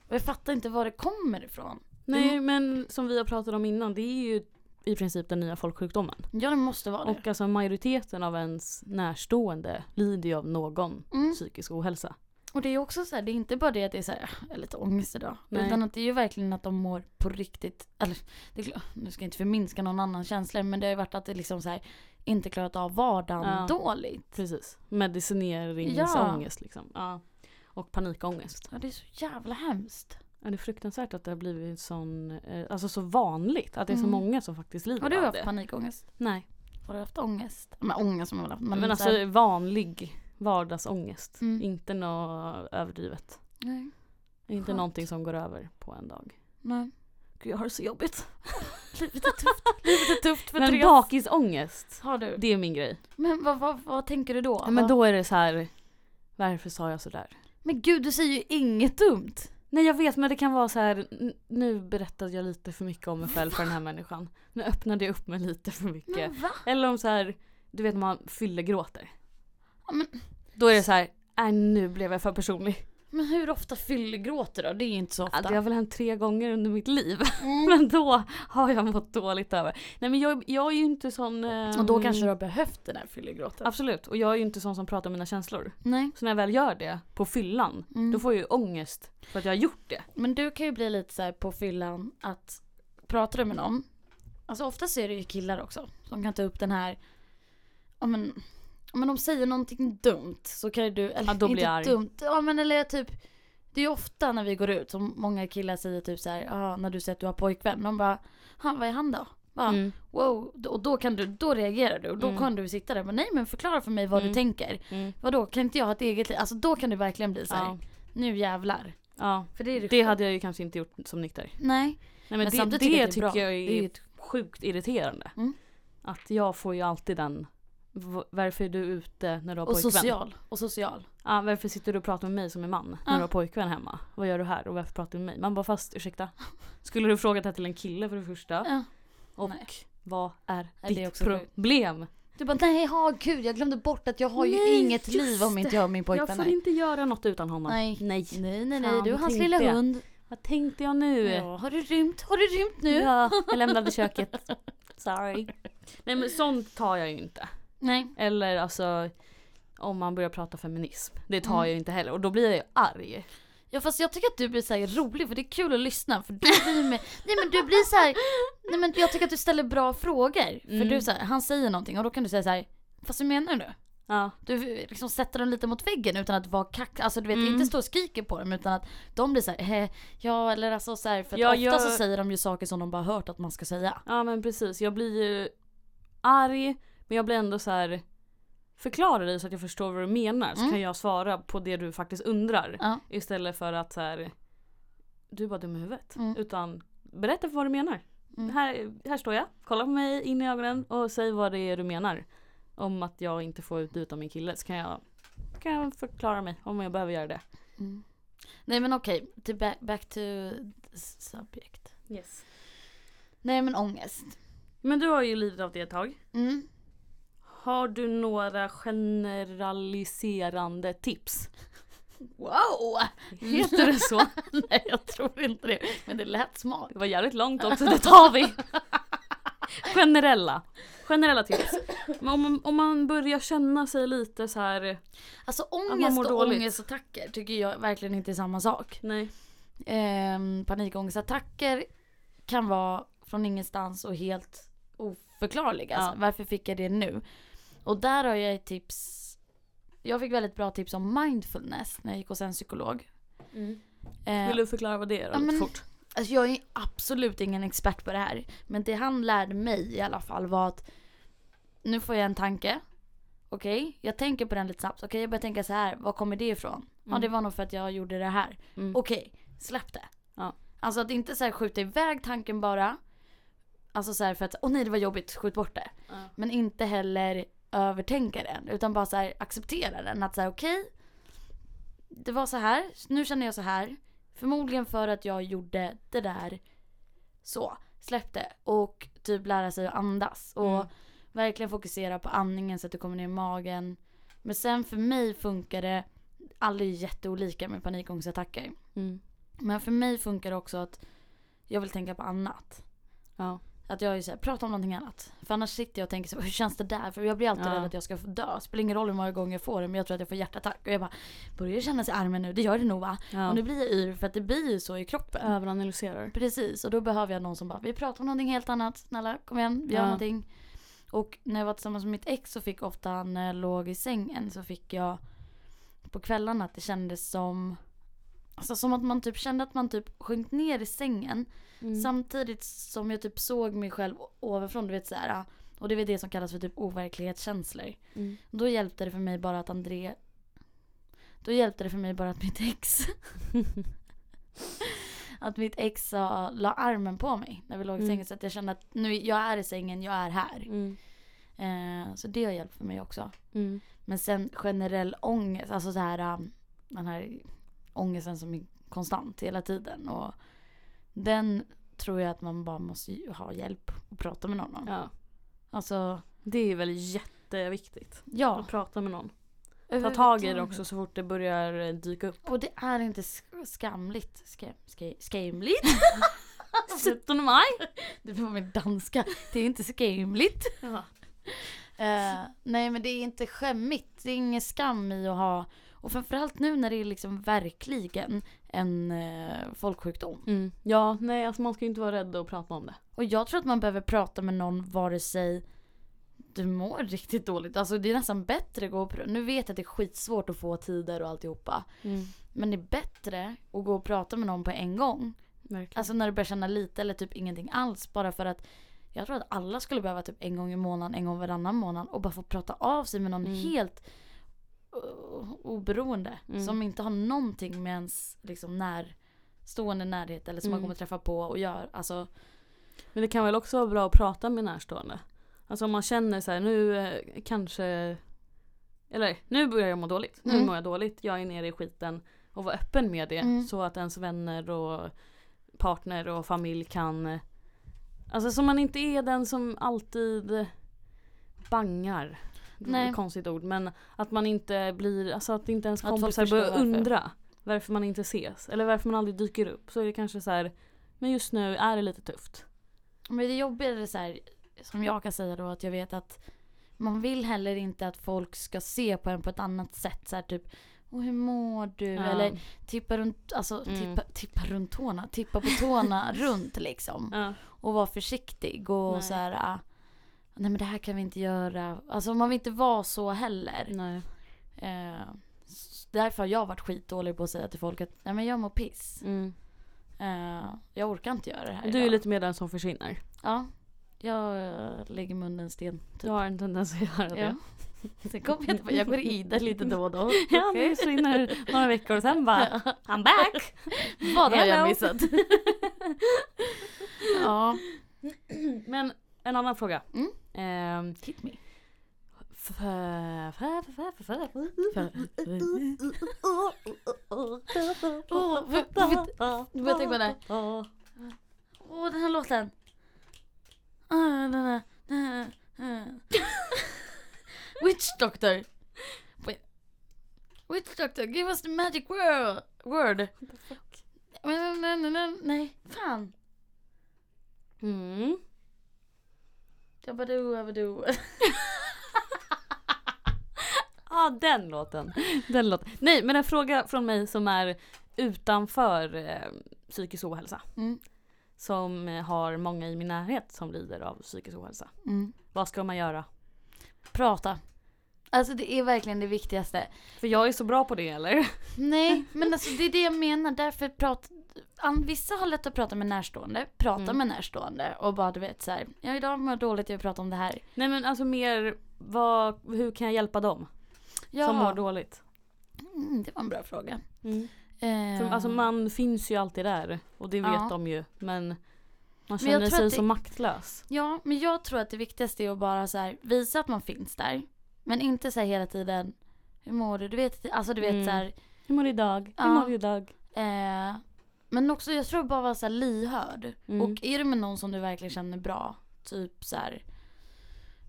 S3: Och jag fattar inte var det kommer ifrån.
S1: Nej men som vi har pratat om innan, det är ju i princip den nya folksjukdomen.
S3: Ja, det måste vara det.
S1: Och alltså majoriteten av ens närstående lider ju av någon
S3: Mm.
S1: psykisk ohälsa.
S3: Och det är också så här, det är inte bara det att det är så här, "Ah, jag är lite ångest idag.
S1: Nej.
S3: Utan att det är ju verkligen att de mår på riktigt, eller det är klart, nu ska jag inte förminska någon annans känslor men det har ju varit att det liksom så här, inte klarat av vardagen
S1: Ja.
S3: dåligt.
S1: Precis. Medicineringsångest liksom. Ja. Och panikångest.
S3: Ja det är så jävla hemskt.
S1: Ja, det är fruktansvärt att det har blivit sån, eh, alltså så vanligt. Att det är så
S3: Mm.
S1: många som faktiskt lider
S3: Har du
S1: av
S3: haft
S1: det.
S3: panikångest?
S1: Nej.
S3: Har du haft ångest? Men ångest har man väl haft.
S1: Men,
S3: så
S1: alltså
S3: här,
S1: vanlig vardagsångest.
S3: Mm.
S1: Inte något överdrivet.
S3: nej,
S1: Inte
S3: Skönt.
S1: någonting som går över på en dag.
S3: nej.
S1: Gud jag har det så jobbigt.
S3: Livet är tufft. Livet är tufft för
S1: Men
S3: Therese.
S1: bakisångest.
S3: Har du?
S1: Det är min grej.
S3: Men vad, vad, vad tänker du då?
S1: Ja, men då är det så här. varför sa jag sådär?
S3: men gud du säger ju inget dumt.
S1: Nej jag vet men det kan vara så här. n- nu berättade jag lite för mycket om mig själv för den här människan. Nu öppnade jag upp mig lite för mycket.
S3: Men va?
S1: Eller om så här, du vet när man fyller gråter.
S3: Ja, men-
S1: Då är det så här, äh, nu blev jag för personlig.
S3: Men hur ofta fyllegråter då? Det är ju inte så ofta.
S1: Ja, Det har väl hänt tre gånger under mitt liv. [laughs]
S3: Mm.
S1: Men då har jag mått dåligt över. Nej men jag, jag är ju inte sån... ehm,
S3: Och då kanske du har behövt den här fyllegråten.
S1: Absolut, och jag är ju inte sån som pratar om mina känslor.
S3: Nej.
S1: Så när jag väl gör det på fyllan,
S3: Mm.
S1: då får jag ju ångest för att jag har gjort det.
S3: Men du kan ju bli lite så här på fyllan att pratar du med någon. Alltså oftast är det ju killar också som kan ta upp den här. Ja men, ja, men de säger någonting dumt så kan ju du. Eller,
S1: Ja, då blir
S3: inte
S1: jag arg.
S3: dumt. Ja men eller typ. Det är ju ofta när vi går ut som många killar säger typ så här. Ja när du säger att du har pojkvän. De bara. Han vad är han då? Bara,
S1: Mm.
S3: Wow. Och då kan du. Då reagerar du. Och då
S1: Mm.
S3: kan du sitta där. Men nej men förklara för mig vad
S1: Mm.
S3: du tänker.
S1: Mm.
S3: Vadå, kan inte jag ha ett eget liv? Alltså då kan du verkligen bli så här.
S1: Ja.
S3: nu jävlar.
S1: ja.
S3: För det är
S1: Det hade jag ju kanske inte gjort som nykter.
S3: Nej.
S1: Nej men,
S3: Men,
S1: det, det,
S3: samtidigt tycker jag att det är
S1: tycker
S3: bra.
S1: jag
S3: Det är
S1: är
S3: ju ett...
S1: sjukt irriterande.
S3: Mm.
S1: Att jag får ju alltid den, "V- varför är du ute när du har
S3: Och
S1: pojkvän?
S3: social. Och social.
S1: Ja, varför sitter du och pratar med mig som är man när
S3: Ja.
S1: du har pojkvän hemma? Vad gör du här och varför pratar du med mig? Man bara fast
S3: [laughs]
S1: ursäkta. Skulle du frågat det här till en kille för det första?
S3: Ja.
S1: Och
S3: Nej.
S1: vad är
S3: Nej, det är
S1: ditt
S3: också sjukt.
S1: problem?
S3: Du bara nej ha gud jag glömde bort att jag har ju
S1: Nej,
S3: inget
S1: just
S3: liv om inte jag har min
S1: Jag
S3: pojkvän
S1: får
S3: här.
S1: inte göra något utan honom.
S3: Nej.
S1: Nej.
S3: Nej nej nej
S1: Fan,
S3: du är hans
S1: tänkte
S3: lilla
S1: jag.
S3: hund.
S1: Vad tänkte jag nu?
S3: Ja, har du rymt? Har du rymt nu?
S1: Ja, jag lämnade
S3: [laughs]
S1: köket. Sorry. Nej men sånt tar jag ju inte.
S3: Nej.
S1: Eller alltså om man börjar prata feminism. Det tar
S3: Mm.
S1: jag ju inte heller och då blir jag ju arg.
S3: Ja fast jag tycker att du blir så här rolig för det är kul att lyssna för du blir med, Nej men du blir så här, nej men jag tycker att du ställer bra frågor. För
S1: Mm.
S3: du så här, han säger någonting och då kan du säga så här, fast hur menar du?
S1: Ja.
S3: Du liksom sätter dem lite mot väggen utan att vara kack, alltså du vet
S1: Mm.
S3: inte stå och skriker på dem utan att de blir så här, eh, ja eller alltså så här, för att
S1: Ja,
S3: ofta
S1: jag-
S3: så säger de ju saker som de bara hört att man ska säga.
S1: ja men precis, jag blir ju arg men jag blir ändå så här förklara dig så att jag förstår vad du menar så
S3: Mm.
S1: kan jag svara på det du faktiskt undrar.
S3: Ja.
S1: Istället för att så här du är bara dum i huvudet.
S3: Mm.
S1: Utan berätta vad du menar.
S3: Mm.
S1: Här, här står jag, kolla på mig in i ögonen och säg vad det är du menar. Om att jag inte får ut ut av min kille så kan jag, kan jag förklara mig om jag behöver göra det.
S3: Mm. Nej men okej, till back, back to subject.
S1: Yes.
S3: Nej men ångest.
S1: Men du har ju lidit av det ett tag.
S3: Mm.
S1: Har du några generaliserande tips?
S3: Wow! [laughs]
S1: Heter det så?
S3: Nej jag tror inte det, men det lät smart.
S1: Det var jävligt långt också, det tar vi! Generella. Generella tips. Men om, om man börjar känna sig lite så här.
S3: Alltså
S1: man
S3: ångest
S1: mår
S3: och
S1: dåligt.
S3: ångestattacker tycker jag verkligen inte är samma sak.
S1: nej.
S3: Ehm, panikångestattacker kan vara från ingenstans och helt oförklarliga. Alltså,
S1: Ja.
S3: Varför fick jag det nu? Och där har jag ett tips. Jag fick väldigt bra tips om mindfulness när jag gick hos en psykolog. Ehm,
S1: Vill du förklara vad det är då?
S3: Ja,
S1: lite
S3: men-
S1: fort.
S3: Alltså jag är absolut ingen expert på det här. Men det han lärde mig i alla fall var att nu får jag en tanke. Okej, jag tänker på den lite snabbt. Okej, jag börjar tänka så här. Var kommer det ifrån? Ja,
S1: Mm.
S3: det var nog för att jag gjorde det här.
S1: Mm.
S3: Okej, släpp det.
S1: Ja.
S3: Alltså att inte så här skjuta iväg tanken bara. Alltså så här för att, åh nej det var jobbigt, skjut bort det.
S1: Ja.
S3: Men inte heller övertänka den. Utan bara så här acceptera den. Att så här, okej. det var så här. Nu känner jag så här. Förmodligen för att jag gjorde det där. Så. Släpp det. Och typ lära sig att andas. Och
S1: Mm.
S3: verkligen fokusera på andningen så att det kommer ner i magen. Men sen för mig funkar det. Alla är jätteolika med panikångestattacker.
S1: Mm.
S3: Men för mig funkar det också att jag vill tänka på annat.
S1: Ja.
S3: Att jag är så här, prata om någonting annat. För annars sitter jag och tänker så här, hur känns det där? För jag blir alltid
S1: Ja.
S3: rädd att jag ska få dö. Spelar ingen roll hur många gånger jag får det men jag tror att jag får hjärtattack. Och jag bara, börjar det kännas i armen nu? Det gör det nog va?
S1: ja.
S3: Och nu blir jag yr för att det blir ju så i kroppen.
S1: Överanalyserar.
S3: Precis, och då behöver jag någon som bara, vi pratar om någonting helt annat. Snälla kom igen, vi gör
S1: Ja.
S3: någonting. Och när jag var tillsammans med mitt ex så fick ofta när jag låg i sängen så fick jag på kvällarna att det kändes som Alltså som att man typ kände att man typ sjönk ner i sängen
S1: Mm.
S3: Samtidigt som jag typ såg mig själv o- ovanifrån, du vet så här. Och det är väl det som kallas för typ overklighetskänslor.
S1: Mm.
S3: Då hjälpte det för mig bara att André... Då hjälpte det för mig bara att mitt ex... [laughs] att mitt ex sa, la armen på mig när vi låg i
S1: Mm.
S3: sängen. Så att jag kände att nu, jag är i sängen, jag är här.
S1: Mm.
S3: Eh, så det har hjälpt för mig också.
S1: Mm.
S3: Men sen generell ångest, alltså så här um, den här ångesten som är konstant hela tiden. Och den tror jag att man bara måste ju ha hjälp och prata med någon om.
S1: Ja.
S3: Alltså,
S1: Det är väl jätteviktigt.
S3: ja.
S1: Att prata med någon. Ta tag i det också så fort det börjar eh, dyka upp.
S3: Och det är inte sk- skamligt. Skam, skam, skamligt? [laughs] Alltså-
S1: 17 maj!
S3: Det var med danska. Det är
S1: [laughs]
S3: inte skamligt. Eh, nej men det är inte skämmigt. Det är ingen skam i att ha. Och framförallt nu när det är liksom verkligen en eh, folksjukdom.
S1: Mm. Ja, nej alltså man ska ju inte vara rädd att prata om det.
S3: Och jag tror att man behöver prata med någon vare sig du mår riktigt dåligt. Alltså det är nästan bättre att gå och pr- Nu vet jag att det är skitsvårt att få tider och alltihopa.
S1: Mm,
S3: Men det är bättre att gå och prata med någon på en gång.
S1: Verkligen.
S3: Alltså när du börjar känna lite eller typ ingenting alls. Bara för att jag tror att alla skulle behöva typ en gång i månaden, en gång varannan månad. Och bara få prata av sig med någon
S1: Mm.
S3: helt o- oberoende.
S1: Mm.
S3: Som inte har någonting med ens liksom närstående närhet. Eller som man
S1: Mm.
S3: kommer träffa på och gör. Alltså,
S1: Men det kan väl också vara bra att prata med närstående. Alltså om man känner så här nu eh, kanske eller nu börjar jag må dåligt. Nu
S3: Mm.
S1: mår jag dåligt. Jag är nere i skiten. Och vara öppen med det.
S3: Mm.
S1: Så att ens vänner och partner och familj kan eh, Alltså så man inte är den som alltid bangar. Det var
S3: Nej.
S1: ett konstigt ord men att man inte blir, alltså att inte ens
S3: Att folk
S1: kompisar
S3: förstår
S1: börjar
S3: varför.
S1: undra varför man inte ses eller varför man aldrig dyker upp så är det kanske så här men just nu är det lite tufft.
S3: Men det jobbiga är det så här, som jag kan säga då, att jag vet att man vill heller inte att folk ska se på en på ett annat sätt. Så här, typ, Åh, hur mår du?
S1: Ja.
S3: Eller tippa runt, alltså
S1: Mm.
S3: tippa, tippa runt tårna, tippa på
S1: [laughs]
S3: tårna runt liksom.
S1: Ja.
S3: Och vara försiktig och
S1: Nej.
S3: så här, ah, nej men det här kan vi inte göra. Alltså man vill inte vara så heller.
S1: Nej.
S3: Eh, s- därför har jag varit skitdålig på att säga till folk att, nej men jag mår piss.
S1: Mm.
S3: Eh, jag orkar inte göra det här
S1: Du är
S3: idag."
S1: lite mer den som försvinner.
S3: Ja. Jag eh, lägger munnen sten.
S1: Du har en tendens att göra det.
S3: Ja. [laughs] Sen kommer jag inte på, jag går i det lite då och [laughs] då.
S1: Ja,
S3: Okej.
S1: nu försvinner några veckor och sen bara I'm back!
S3: Vad har
S1: Hello.
S3: jag missat? [laughs] ja,
S1: Men en annan fråga.
S3: Mm.
S1: Ehm,
S3: hit me.
S1: f- f- f- f- f- f-
S3: Åh, vet- vet- du börjar tänka på det Åh, den här låten. Ah, den här, den här, [laughs] ah. Witch Doctor. Wait. Witch Doctor, give us the magic word. word. Men, nej, nej, nej, nej, fan.
S1: Mm.
S3: Jabadoo, abadoo.
S1: Ja, den låten. Den låten. Nej, men en fråga från mig som är utanför eh, psykisk ohälsa.
S3: [laughs] Mm.
S1: Som eh, har många i min närhet som lider av psykisk ohälsa.
S3: Mm.
S1: Vad ska man göra?
S3: Prata. Alltså det är verkligen det viktigaste.
S1: För jag är så bra på det eller? [laughs]
S3: Nej, men alltså det är det jag menar. Därför prat... an- Vissa har lätt att prata med närstående. Prata
S1: Mm.
S3: med närstående och bara du vet så här. Ja, idag mår jag dåligt, jag vill prata om det här.
S1: Nej men alltså mer vad, hur kan jag hjälpa dem
S3: Ja,
S1: som mår dåligt?
S3: Mm, det var en bra fråga.
S1: Mm. För, alltså
S3: Ehm,
S1: man finns ju alltid där och det vet
S3: Ja.
S1: de ju men man
S3: Men jag
S1: känner
S3: tror
S1: sig
S3: att det-
S1: så maktlös.
S3: Ja, men jag tror att det viktigaste är att bara så här, visa att man finns där. Men inte så här hela tiden, hur mår du? Du vet, alltså du vet
S1: Mm.
S3: så här.
S1: Hur mår du idag?
S3: Ja.
S1: Hur mår du idag?
S3: Eh, men också, jag tror bara vara så här lyhörd.
S1: Mm.
S3: Och är du med någon som du verkligen känner bra, typ så här,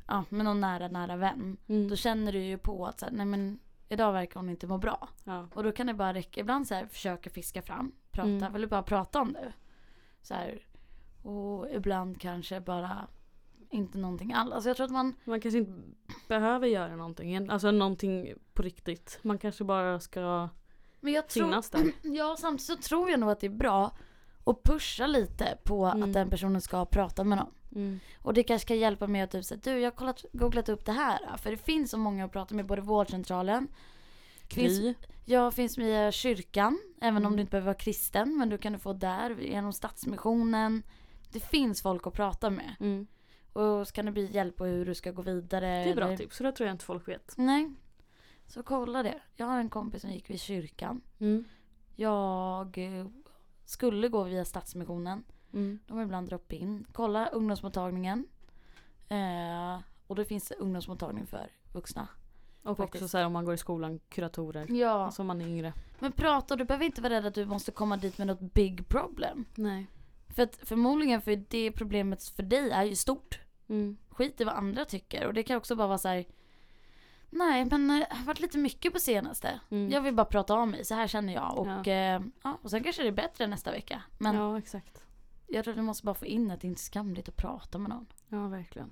S3: ja, med någon nära, nära vän.
S1: Mm.
S3: Då känner du ju på att så här, nej men idag verkar hon inte må bra.
S1: Ja.
S3: Och då kan det bara räcka, ibland så här försöka fiska fram, prata,
S1: Mm.
S3: vill du bara prata om det? Så här, och ibland kanske bara inte någonting alls. Alltså jag tror att man,
S1: Man kanske inte behöver göra någonting, alltså någonting på riktigt. Man kanske bara ska
S3: men jag tror,
S1: finnas där.
S3: Ja, samtidigt så tror jag nog att det är bra att pusha lite på
S1: Mm.
S3: att den personen ska prata med någon.
S1: Mm.
S3: Och det kanske kan hjälpa mig att typ säga, du jag har kollat, googlat upp det här. För det finns så många att prata med, både vårdcentralen, [clears throat] finns,
S1: Kry.
S3: jag finns via kyrkan, även om
S1: Mm.
S3: du inte behöver vara kristen, men du kan du få där, genom Stadsmissionen. Det finns folk att prata med.
S1: Mm.
S3: Och så kan det bli hjälp på hur du ska gå vidare.
S1: Det är bra
S3: eller-
S1: tips, så det tror jag inte folk vet.
S3: Nej. Så kolla det. Jag har en kompis som gick vid kyrkan.
S1: Mm.
S3: Jag eh, skulle gå via Stadsmissionen.
S1: Mm.
S3: De har ibland drop in. Kolla ungdomsmottagningen. Eh, och det finns ungdomsmottagning för vuxna.
S1: Och också
S3: Faktiskt.
S1: så här, om man går i skolan, kuratorer.
S3: Ja.
S1: Alltså om man är yngre.
S3: Men prata och du behöver inte vara rädd att du måste komma dit med något big problem.
S1: Nej.
S3: För att förmodligen för det problemet för dig är ju stort.
S1: Mm.
S3: Skit i vad andra tycker. Och det kan också bara vara så här. Nej men eh, det har varit lite mycket på senaste.
S1: Mm.
S3: Jag vill bara prata om mig. Så här känner jag. Och, eh, ja, och sen kanske det är bättre nästa vecka. Men
S1: Ja exakt.
S3: jag tror att du måste bara få in att det inte är skamligt att prata med någon.
S1: Ja verkligen.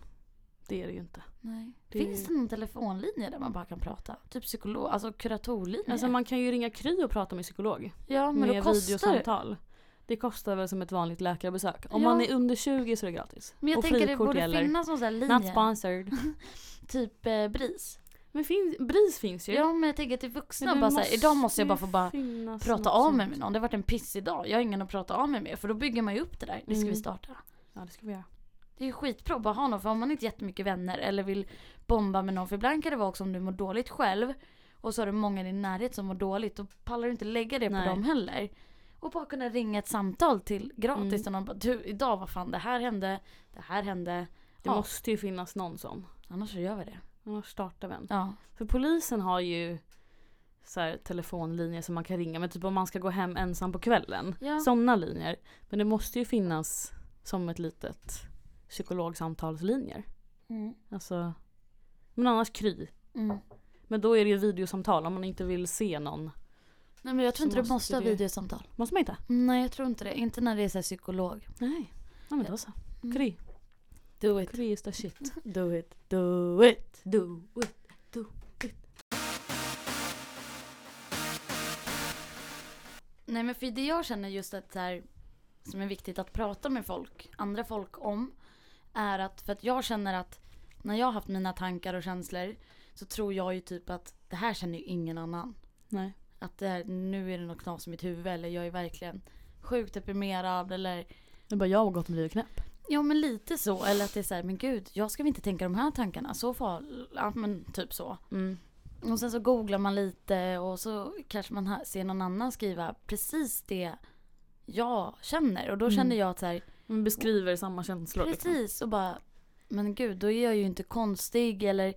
S1: Det är det ju inte.
S3: Nej.
S1: Det-
S3: Finns det någon telefonlinje där man bara kan prata? Typ psykolog, alltså kuratorlinje?
S1: Alltså man kan ju ringa Kry och prata med psykolog.
S3: ja men då
S1: med
S3: kostar det.
S1: videosamtal. Det kostar väl som ett vanligt läkarbesök. Om
S3: Ja.
S1: man är under 20 så är det gratis.
S3: Men jag
S1: och
S3: tänker det
S1: frikort
S3: borde
S1: gäller.
S3: finnas någon sån här
S1: Not
S3: linje.
S1: sponsored.
S3: Typ eh, BRIS.
S1: Men finns, BRIS finns ju.
S3: Ja men jag tänker till vuxna
S1: Typ. Men det
S3: bara såhär, idag måste jag
S1: ju
S3: bara få bara
S1: finnas något
S3: prata av
S1: sånt.
S3: mig med någon. Det har varit en piss idag. Jag har ingen att prata av mig med. För då bygger man ju upp det där. Det ska
S1: Mm.
S3: vi starta.
S1: Ja det ska vi göra.
S3: Det är ju skitbra att bara ha någon. För om man inte jättemycket vänner eller vill bomba med någon. För ibland kan det vara också om du mår dåligt själv. Och så har du många i din närhet som mår dåligt. Då pallar du inte lägga det
S1: Nej.
S3: på dem heller. Och bara kunna ringa ett samtal till gratis.
S1: Mm.
S3: Till någon bara, du idag vad fan det här hände. Det här hände.
S1: Det
S3: Ja.
S1: måste ju finnas någon sån.
S3: Annars så gör vi det.
S1: Annars startar vi en.
S3: Ja.
S1: För polisen har ju så här, telefonlinjer som man kan ringa men typ om man ska gå hem ensam på kvällen.
S3: Ja.
S1: Sådana linjer. Men det måste ju finnas som ett litet psykologsamtalslinjer. Alltså Men annars Kry.
S3: Mm.
S1: Men då är det ju videosamtal om man inte vill se någon.
S3: Nej men jag tror
S1: Så
S3: inte du
S1: måste
S3: måste ha
S1: det-
S3: videosamtal.
S1: Måste man inte?
S3: Nej jag tror inte det. Inte när det är så här psykolog.
S1: Nej. Ja men då så.
S3: Mm.
S1: Kry.
S3: Do it.
S1: Kry is the shit.
S3: Do it. Do it.
S1: Do it.
S3: Nej men för det jag känner just att så här, som är viktigt att prata med folk, andra folk om. Är att, för att jag känner att när jag har haft mina tankar och känslor så tror jag ju typ att det här känner ju ingen annan.
S1: Nej.
S3: Att det här, nu är det något knas i mitt huvud eller jag är verkligen sjukt deprimerad eller
S1: Det är bara jag och gott blivit knäpp.
S3: Ja men lite så. Eller att det är så här, men gud, jag ska väl inte tänka de här tankarna. Så far, ja men typ så.
S1: Mm.
S3: Och sen så googlar man lite och så kanske man ha- ser någon annan skriva precis det jag känner. Och då
S1: Mm.
S3: känner jag att så här,
S1: Man beskriver samma känslor. liksom.
S3: precis och bara, men gud, då är jag ju inte konstig eller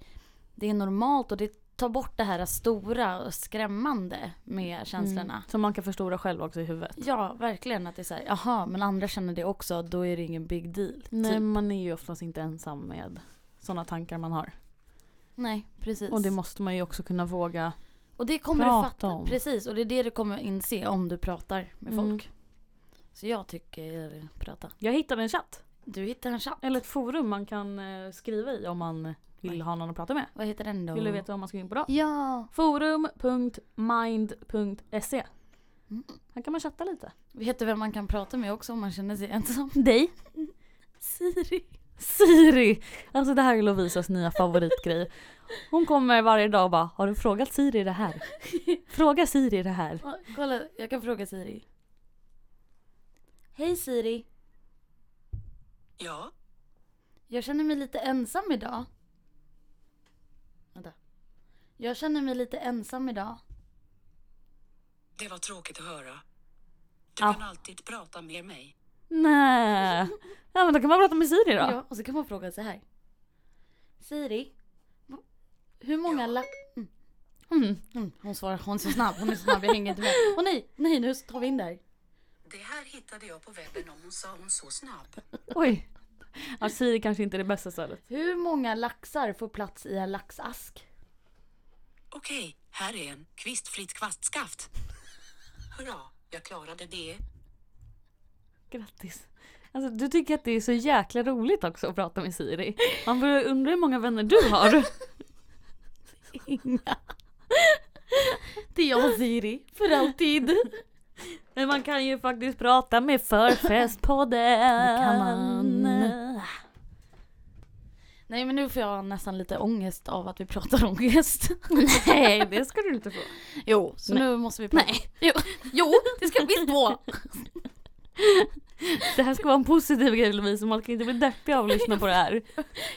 S3: det är normalt och det tar bort det här stora och skrämmande med känslorna.
S1: Mm. Som man kan förstora själv också i huvudet.
S3: Ja, verkligen att det är så här, jaha, men andra känner det också, då är det ingen big deal.
S1: Nej,
S3: Typ.
S1: man är ju oftast inte ensam med sådana tankar man har.
S3: Nej, precis.
S1: Och det måste man ju också kunna våga.
S3: Och det kommer
S1: Prata
S3: du fatta.
S1: om.
S3: Precis, och det är det du kommer inse om du pratar med
S1: Mm.
S3: folk. Så jag tycker prata.
S1: Jag hittade en chatt.
S3: Du hittar en chatt.
S1: Eller ett forum man kan eh, skriva i om man vill
S3: Nej.
S1: ha någon att prata med.
S3: Vad heter den då?
S1: Vill du veta vad man ska gå in på då?
S3: Ja.
S1: Forum.mind.se
S3: Mm.
S1: Här kan man chatta lite.
S3: Vet du vem man kan prata med också om man känner sig ensam? [laughs] Dig. Siri.
S1: Siri! Alltså det här är Lovisas nya favoritgrej. Hon kommer varje dag och bara “Har du frågat Siri det här?” Fråga Siri det här.
S3: Ja, Kolla, jag kan fråga Siri. Hej Siri.
S2: Ja,
S3: Jag känner mig lite ensam idag. Vänta. Jag känner mig lite ensam idag.
S2: det var tråkigt att höra. Du
S1: Ja.
S2: kan alltid prata med mig.
S1: Nej. Ja men då kan man prata med Siri då.
S3: Ja, och så kan man fråga så här. Siri, v- hur många
S2: Ja.
S3: lapp...
S1: Mm.
S3: Mm, hon svarar, hon är så snabb, hon är så snabb, jag hänger inte med. Åh nej, nej nu tar vi in där.
S2: Det här hittade jag på webben om hon sa hon så snabb.
S1: Oj. Ja, Siri kanske inte är det bästa stället.
S3: Hur många laxar får plats i en laxask?
S2: Okej, här är en kvistfritt kvastskaft. Hurra, jag klarade det.
S1: Grattis. Alltså, du tycker att det är så jäkla roligt också att prata med Siri. Man börjar undra hur många vänner du har.
S3: Inga. [laughs] Det är jag och Siri, för alltid.
S1: Men man kan ju faktiskt prata med Förfestpodden.
S3: Det kan man. Nej men nu får jag nästan lite ångest av att vi pratar ångest.
S1: Nej, det ska du inte få.
S3: [laughs] Jo, så
S1: Nej.
S3: nu måste vi prata. Nej. Jo, jo det ska vi få.
S1: Det här ska vara en positiv grej Lovisa, man kan inte bli deppig av att lyssna på det här.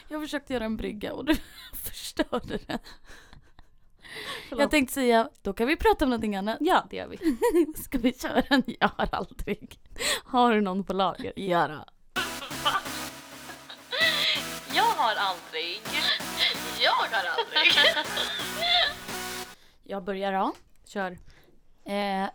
S3: Jag försökte göra en brygga och du [laughs] förstörde den.
S1: Förlåt.
S3: Jag tänkte säga, då kan vi prata om någonting annat.
S1: Ja, det gör vi.
S3: [laughs] Ska vi köra en Jag har aldrig?
S1: Har du någon på lager?
S3: Göra.
S4: Jag har aldrig. Jag har aldrig.
S3: Jag börjar då.
S1: Kör.
S3: Eh,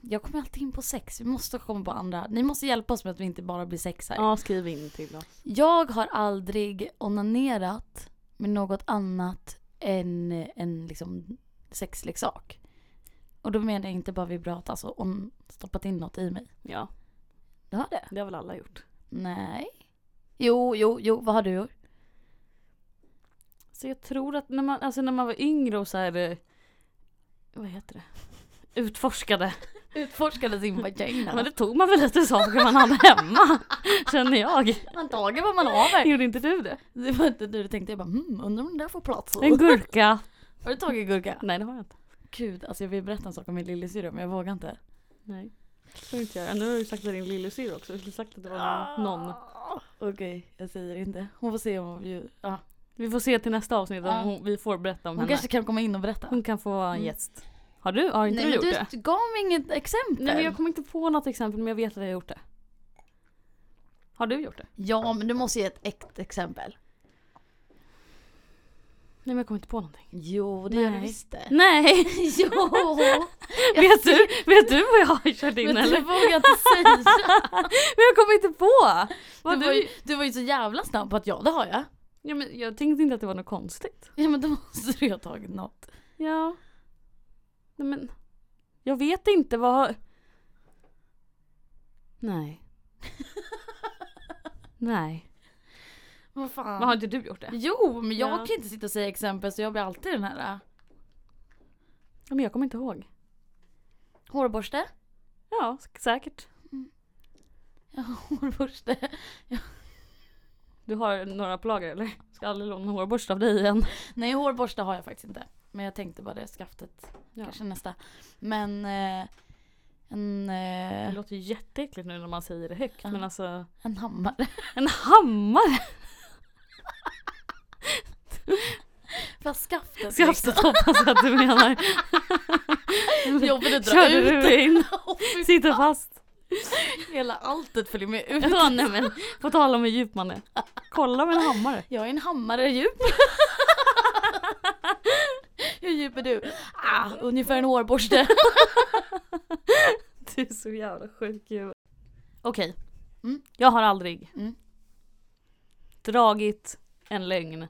S3: jag kommer alltid in på sex, vi måste komma på andra. Ni måste hjälpa oss med att vi inte bara blir sex här.
S1: Ja, skriv in till oss.
S3: Jag har aldrig onanerat med något annat än en liksom sexleksak. Och då menar jag inte bara vibrat, alltså om stoppat in något i mig.
S1: Ja,
S3: Du har det?
S1: det har väl alla gjort.
S3: Nej. Jo, jo, jo, vad har du gjort?
S1: Så jag tror att när man, alltså när man var yngre och så här, eh, vad heter det? Utforskade.
S3: Utforskade sin
S1: [laughs]
S3: vagina.
S1: Men det tog man väl lite saker man hade [laughs] hemma. Känner jag.
S3: Man tager vad man har.
S1: Gjorde inte du det?
S3: Det var inte du tänkte, jag bara hmm, undrar om den där får plats.
S1: En gurka.
S3: Har du tagit gurka?
S1: Nej det har jag inte.
S3: Gud, alltså jag vill berätta en sak om min lillasyrra men jag vågar inte.
S1: Nej. Det får du inte göra. Nu har du sagt att din lillasyrra också. Du skulle sagt att det
S3: Ah.
S1: var någon.
S3: Okej, jag säger inte. Hon får se om hon blir- ja.
S1: Vi får se till nästa avsnitt om
S3: Ja.
S1: Ah. hon, vi får berätta om
S3: Hon
S1: henne.
S3: kanske kan komma in och berätta.
S1: Hon kan få vara en gäst. Har du? Har inte
S3: Nej,
S1: du
S3: Mm. men
S1: gjort det?
S3: du gav mig inget exempel.
S1: Nej men jag kommer inte på något exempel men jag vet att jag har gjort det. Har du gjort det?
S3: Ja, men du måste ge ett äkt exempel.
S1: Nej men jag kommer inte på någonting.
S3: Jo, det gör du
S1: Nej.
S3: visst det.
S1: [laughs] Nej!
S3: [laughs] jo!
S1: Vet du, vet du vad jag har kört in
S3: Men
S1: eller? [laughs]
S3: du vågar inte säga. [laughs]
S1: Men jag kommer inte på!
S3: Du
S1: Vad
S3: var, ju,
S1: du...
S3: du var ju så jävla snabb på att ja, det har jag.
S1: Ja, men jag tänkte inte att det var något konstigt.
S3: Ja men då måste du ju ha tagit något.
S1: Ja. Nej men. Jag vet inte vad... Nej. Nej.
S3: Vad fan.
S1: Men har inte du gjort det?
S3: Jo men jag
S1: Ja.
S3: kan inte sitta och säga exempel så jag blir alltid den här. äh,
S1: Ja, men jag kommer inte ihåg.
S3: Hårborste.
S1: Ja, s- säkert.
S3: Ja, [laughs] hårborste.
S1: Du har några plager eller? Ska aldrig låna en hårborste av dig igen.
S3: Nej hårborste har jag faktiskt inte. Men jag tänkte bara det skaftet.
S1: Ja.
S3: Kanske nästa. Men eh, en,
S1: Det
S3: eh,
S1: låter ju jätteäckligt nu när man säger det högt
S3: Ja.
S1: men alltså.
S3: en hammare.
S1: En hammare!
S3: [laughs] Fast skaftet. [laughs]
S1: Skaftet hoppas jag att du [laughs] menar.
S3: liksom. Jobbigt att dra
S1: Körde
S3: ut.
S1: du in?
S3: Åh, fy
S1: Sitter fast.
S3: Hela alltet följer med ut.
S1: Ja, nej men på tal om hur djup man är. Kolla med en hammare.
S3: [laughs] Jag är en hammare djup. [laughs] Hur djup är du? Ah, ungefär en hårborste.
S1: [laughs] Du är så jävla sjuk ju. Okej.
S3: Mm.
S1: Jag har aldrig
S3: Mm.
S1: dragit en lögn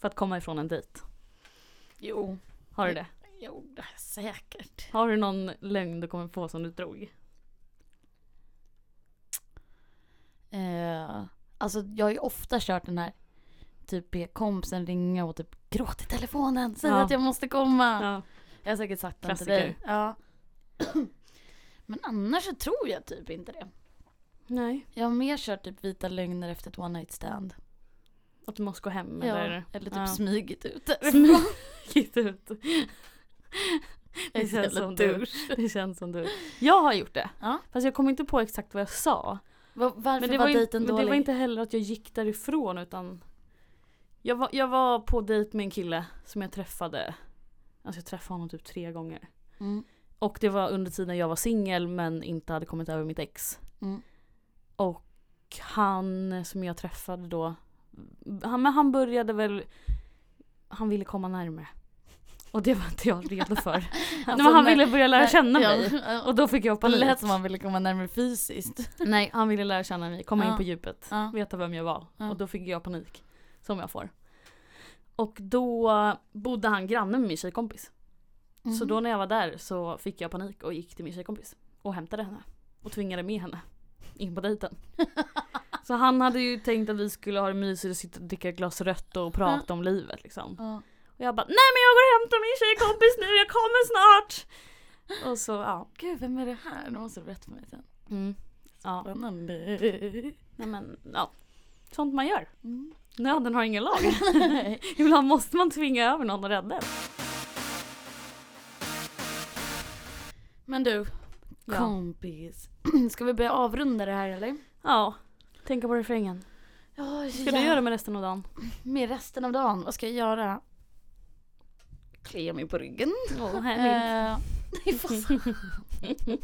S1: för att komma ifrån en dejt.
S3: [laughs] Jo,
S1: Har du det?
S3: jo det är säkert.
S1: Har du någon lögn du kommer på som du drog?
S3: Eh, alltså jag har ju ofta kört den här typ be kompisen ringa och typ gråt i telefonen, säg
S1: Ja.
S3: att jag måste komma.
S1: Ja.
S3: Jag har säkert sagt den till
S1: Klassiker.
S3: dig. Ja. [clears throat] Men annars så tror jag typ inte det.
S1: Nej.
S3: Jag har mer kört typ vita lögner efter ett one night stand.
S1: Att du måste gå hem
S3: ja,
S1: eller?
S3: eller typ
S1: Ja.
S3: smugit ut.
S1: [laughs] Smugit ut.
S3: Jag är
S1: Det känns
S3: så jävla
S1: som du.
S3: douche.
S1: Det känns som du. Jag har gjort det.
S3: Ja.
S1: Fast jag kommer inte på exakt vad jag sa.
S3: Va- Varför
S1: Men det,
S3: var,
S1: var, in-
S3: dejten
S1: men
S3: dålig?
S1: det var inte heller att jag gick därifrån utan jag var, jag var på dejt med en kille som jag träffade. Alltså jag träffade honom typ tre gånger.
S3: Mm.
S1: Och det var under tiden jag var singel men inte hade kommit över mitt ex.
S3: Mm.
S1: Och han som jag träffade då, han, men han började väl, han ville komma närmare. Och det var inte jag redo
S3: [laughs]
S1: för. Nej, men han
S3: när-
S1: ville börja lära
S3: när-
S1: känna
S3: Alltså, ja,
S1: mig.
S3: ja,
S1: Och då fick jag
S3: det
S1: panik.
S3: lät som han ville komma närmare fysiskt.
S1: Nej, han ville lära känna mig, komma
S3: Ja.
S1: in på djupet,
S3: Ja.
S1: veta vem jag var.
S3: Ja.
S1: Och då fick jag panik, som jag får. Och då bodde han granne med min tjejkompis.
S3: Mm.
S1: Så
S3: Mhm.
S1: då när jag var där så fick jag panik och gick till min tjejkompis och hämtade henne. Och tvingade med henne in på dejten. så han hade ju tänkt att vi skulle ha det mysigt och sitta och dricka ett glas rött och prata om livet liksom.
S3: Ja.
S1: Och jag bara nej men jag går och hämtar min tjejkompis nu, jag kommer snart! Och så ja.
S3: Gud, vem är det här? Nu måste du berätta för mig sen.
S1: Mm. Ja.
S3: Spännande.
S1: Nej men ja. Sånt man gör.
S3: [laughs] Mm.
S1: Nöden har ingen lag. Ibland måste man tvinga över någon och rädda en.
S3: Men du,
S1: Ja.
S3: kompis. [clears throat] Ska vi börja avrunda det här eller?
S1: Ja. Tänka på refrängen.
S3: Oh,
S1: Ska du göra med resten av dagen?
S3: med resten av dagen? Vad ska jag göra? Klia mig på ryggen.
S1: Oh,
S3: Eh, nej, vad fan.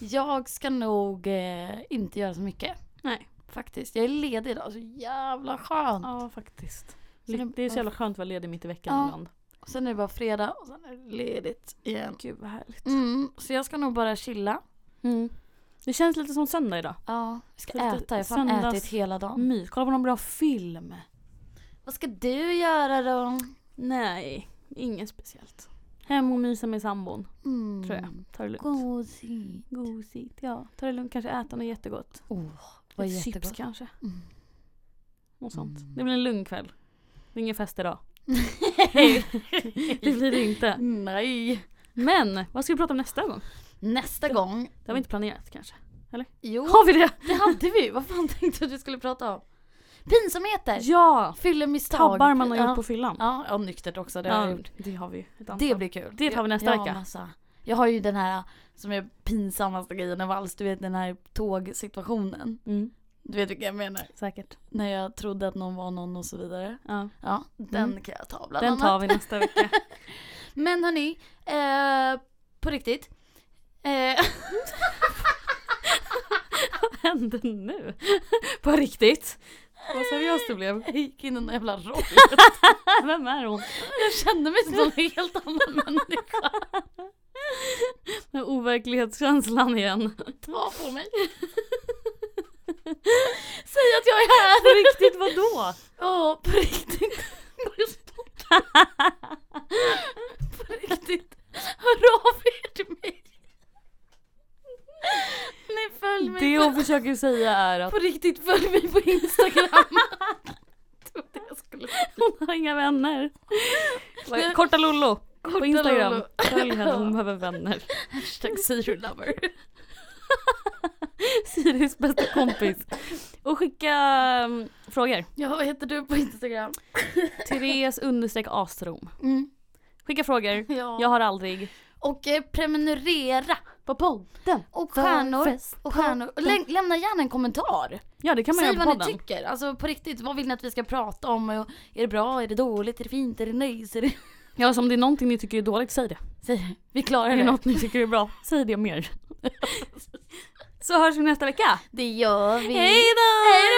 S3: jag ska nog eh, inte göra så mycket.
S1: Nej.
S3: Faktiskt. Jag är ledig idag, så jävla skönt.
S1: ja faktiskt.
S3: Så det-
S1: Det är så jävla skönt att vara ledig mitt i veckan
S3: Ja.
S1: ibland.
S3: Och sen är det bara fredag och sen är det ledigt igen.
S1: Gud vad härligt.
S3: Mm, så jag ska nog bara chilla.
S1: Mm. Det känns lite som söndag idag.
S3: Ja, Mm. jag ska
S1: Så lite
S3: äta. Jag har fan
S1: söndags-
S3: ätit hela dagen.
S1: Mys, kolla på någon bra film.
S3: Vad ska du göra då?
S1: Nej, inget speciellt. Hem och mysa med sambon,
S3: Mm.
S1: tror jag. Ta det lugnt.
S3: Gosigt.
S1: Gosigt, ja. Ta det lugnt, kanske äta något jättegott.
S3: Oh, vad
S1: Lite
S3: jättegott.
S1: chips kanske.
S3: Mm.
S1: Något sånt.
S3: Mm.
S1: Det blir en lugn kväll. Det är ingen fest [laughs] idag.
S3: [laughs]
S1: det blir det inte.
S3: Nej.
S1: Men vad ska vi prata om nästa gång?
S3: Nästa gång.
S1: Det har vi inte planerat kanske.
S3: Jo,
S1: Har vi det?
S3: det hade vi. Vad fan [laughs] tänkte du att vi skulle prata om? Pinsamheter.
S1: Ja!
S3: Fyllemisstag.
S1: Tabbar man har
S3: ja.
S1: gjort på fyllan.
S3: Ja, och nyktert också. Det har jag
S1: Ja,
S3: gjort.
S1: det har vi ju. ett antal.
S3: Det blir kul.
S1: Det tar vi nästa
S3: jag, Jag
S1: vecka.
S3: har, massa. jag har ju den här äh, som är pinsammaste grejen av alls. Du vet den här tågsituationen.
S1: Mm,
S3: Du vet vilken jag menar.
S1: säkert.
S3: När jag trodde att någon var någon och så vidare.
S1: Ja.
S3: Ja, den
S1: Mm.
S3: kan jag ta bland
S1: Den
S3: annat.
S1: tar vi nästa [laughs] vecka.
S3: Men hörni, eh, på riktigt. Eh, [laughs]
S1: Vad hände nu? [laughs] På riktigt? Vad seriöst det [laughs] blev.
S3: jag gick in i någon jävla roll.
S1: [laughs] Vem är hon?
S3: Jag kände mig som en helt annan människa.
S1: Den overklighetskänslan igen.
S3: Ta på mig. [laughs] Säg att jag är här.
S1: Riktigt vadå?
S3: Ja,
S1: [laughs]
S3: på riktigt. Går i stopp. [laughs] på riktigt. Hör av er till mig. Nej, följ mig.
S1: Det
S3: på-
S1: hon försöker säga är att
S3: På riktigt, följ mig
S1: [laughs]
S3: på Instagram. Jag trodde jag skulle
S1: hon har inga vänner.
S3: Nej.
S1: Korta Lollo på
S3: Korta
S1: Instagram.
S3: Lollo.
S1: [laughs] Följ henne, hon behöver vänner.
S3: Hashtag syrelover.
S1: [laughs] Siris bästa kompis. Och skicka mm, frågor.
S3: Ja, vad heter du på Instagram?
S1: Therese understreck Astrom.
S3: Mm.
S1: Skicka frågor.
S3: Ja.
S1: Jag har aldrig.
S3: Och eh, prenumerera
S1: På podden.
S3: och
S1: För
S3: stjärnor.
S1: fest.
S3: Och stjärnor. Och lä- lämna gärna en kommentar.
S1: Ja det kan man
S3: Säg
S1: göra på
S3: vad ni
S1: podden.
S3: tycker. Alltså på riktigt, vad vill ni att vi ska prata om? Och Är det bra? Är det dåligt? Är det fint? Är det nöjs? Är det... [laughs]
S1: Ja så om det är någonting ni tycker är dåligt, säg det.
S3: Säg, vi
S1: Är
S3: klarar
S1: det
S3: det.
S1: något ni tycker är bra, säg det mer. [laughs] så hörs vi nästa vecka.
S3: Det gör vi.
S1: Hej då!
S3: Hej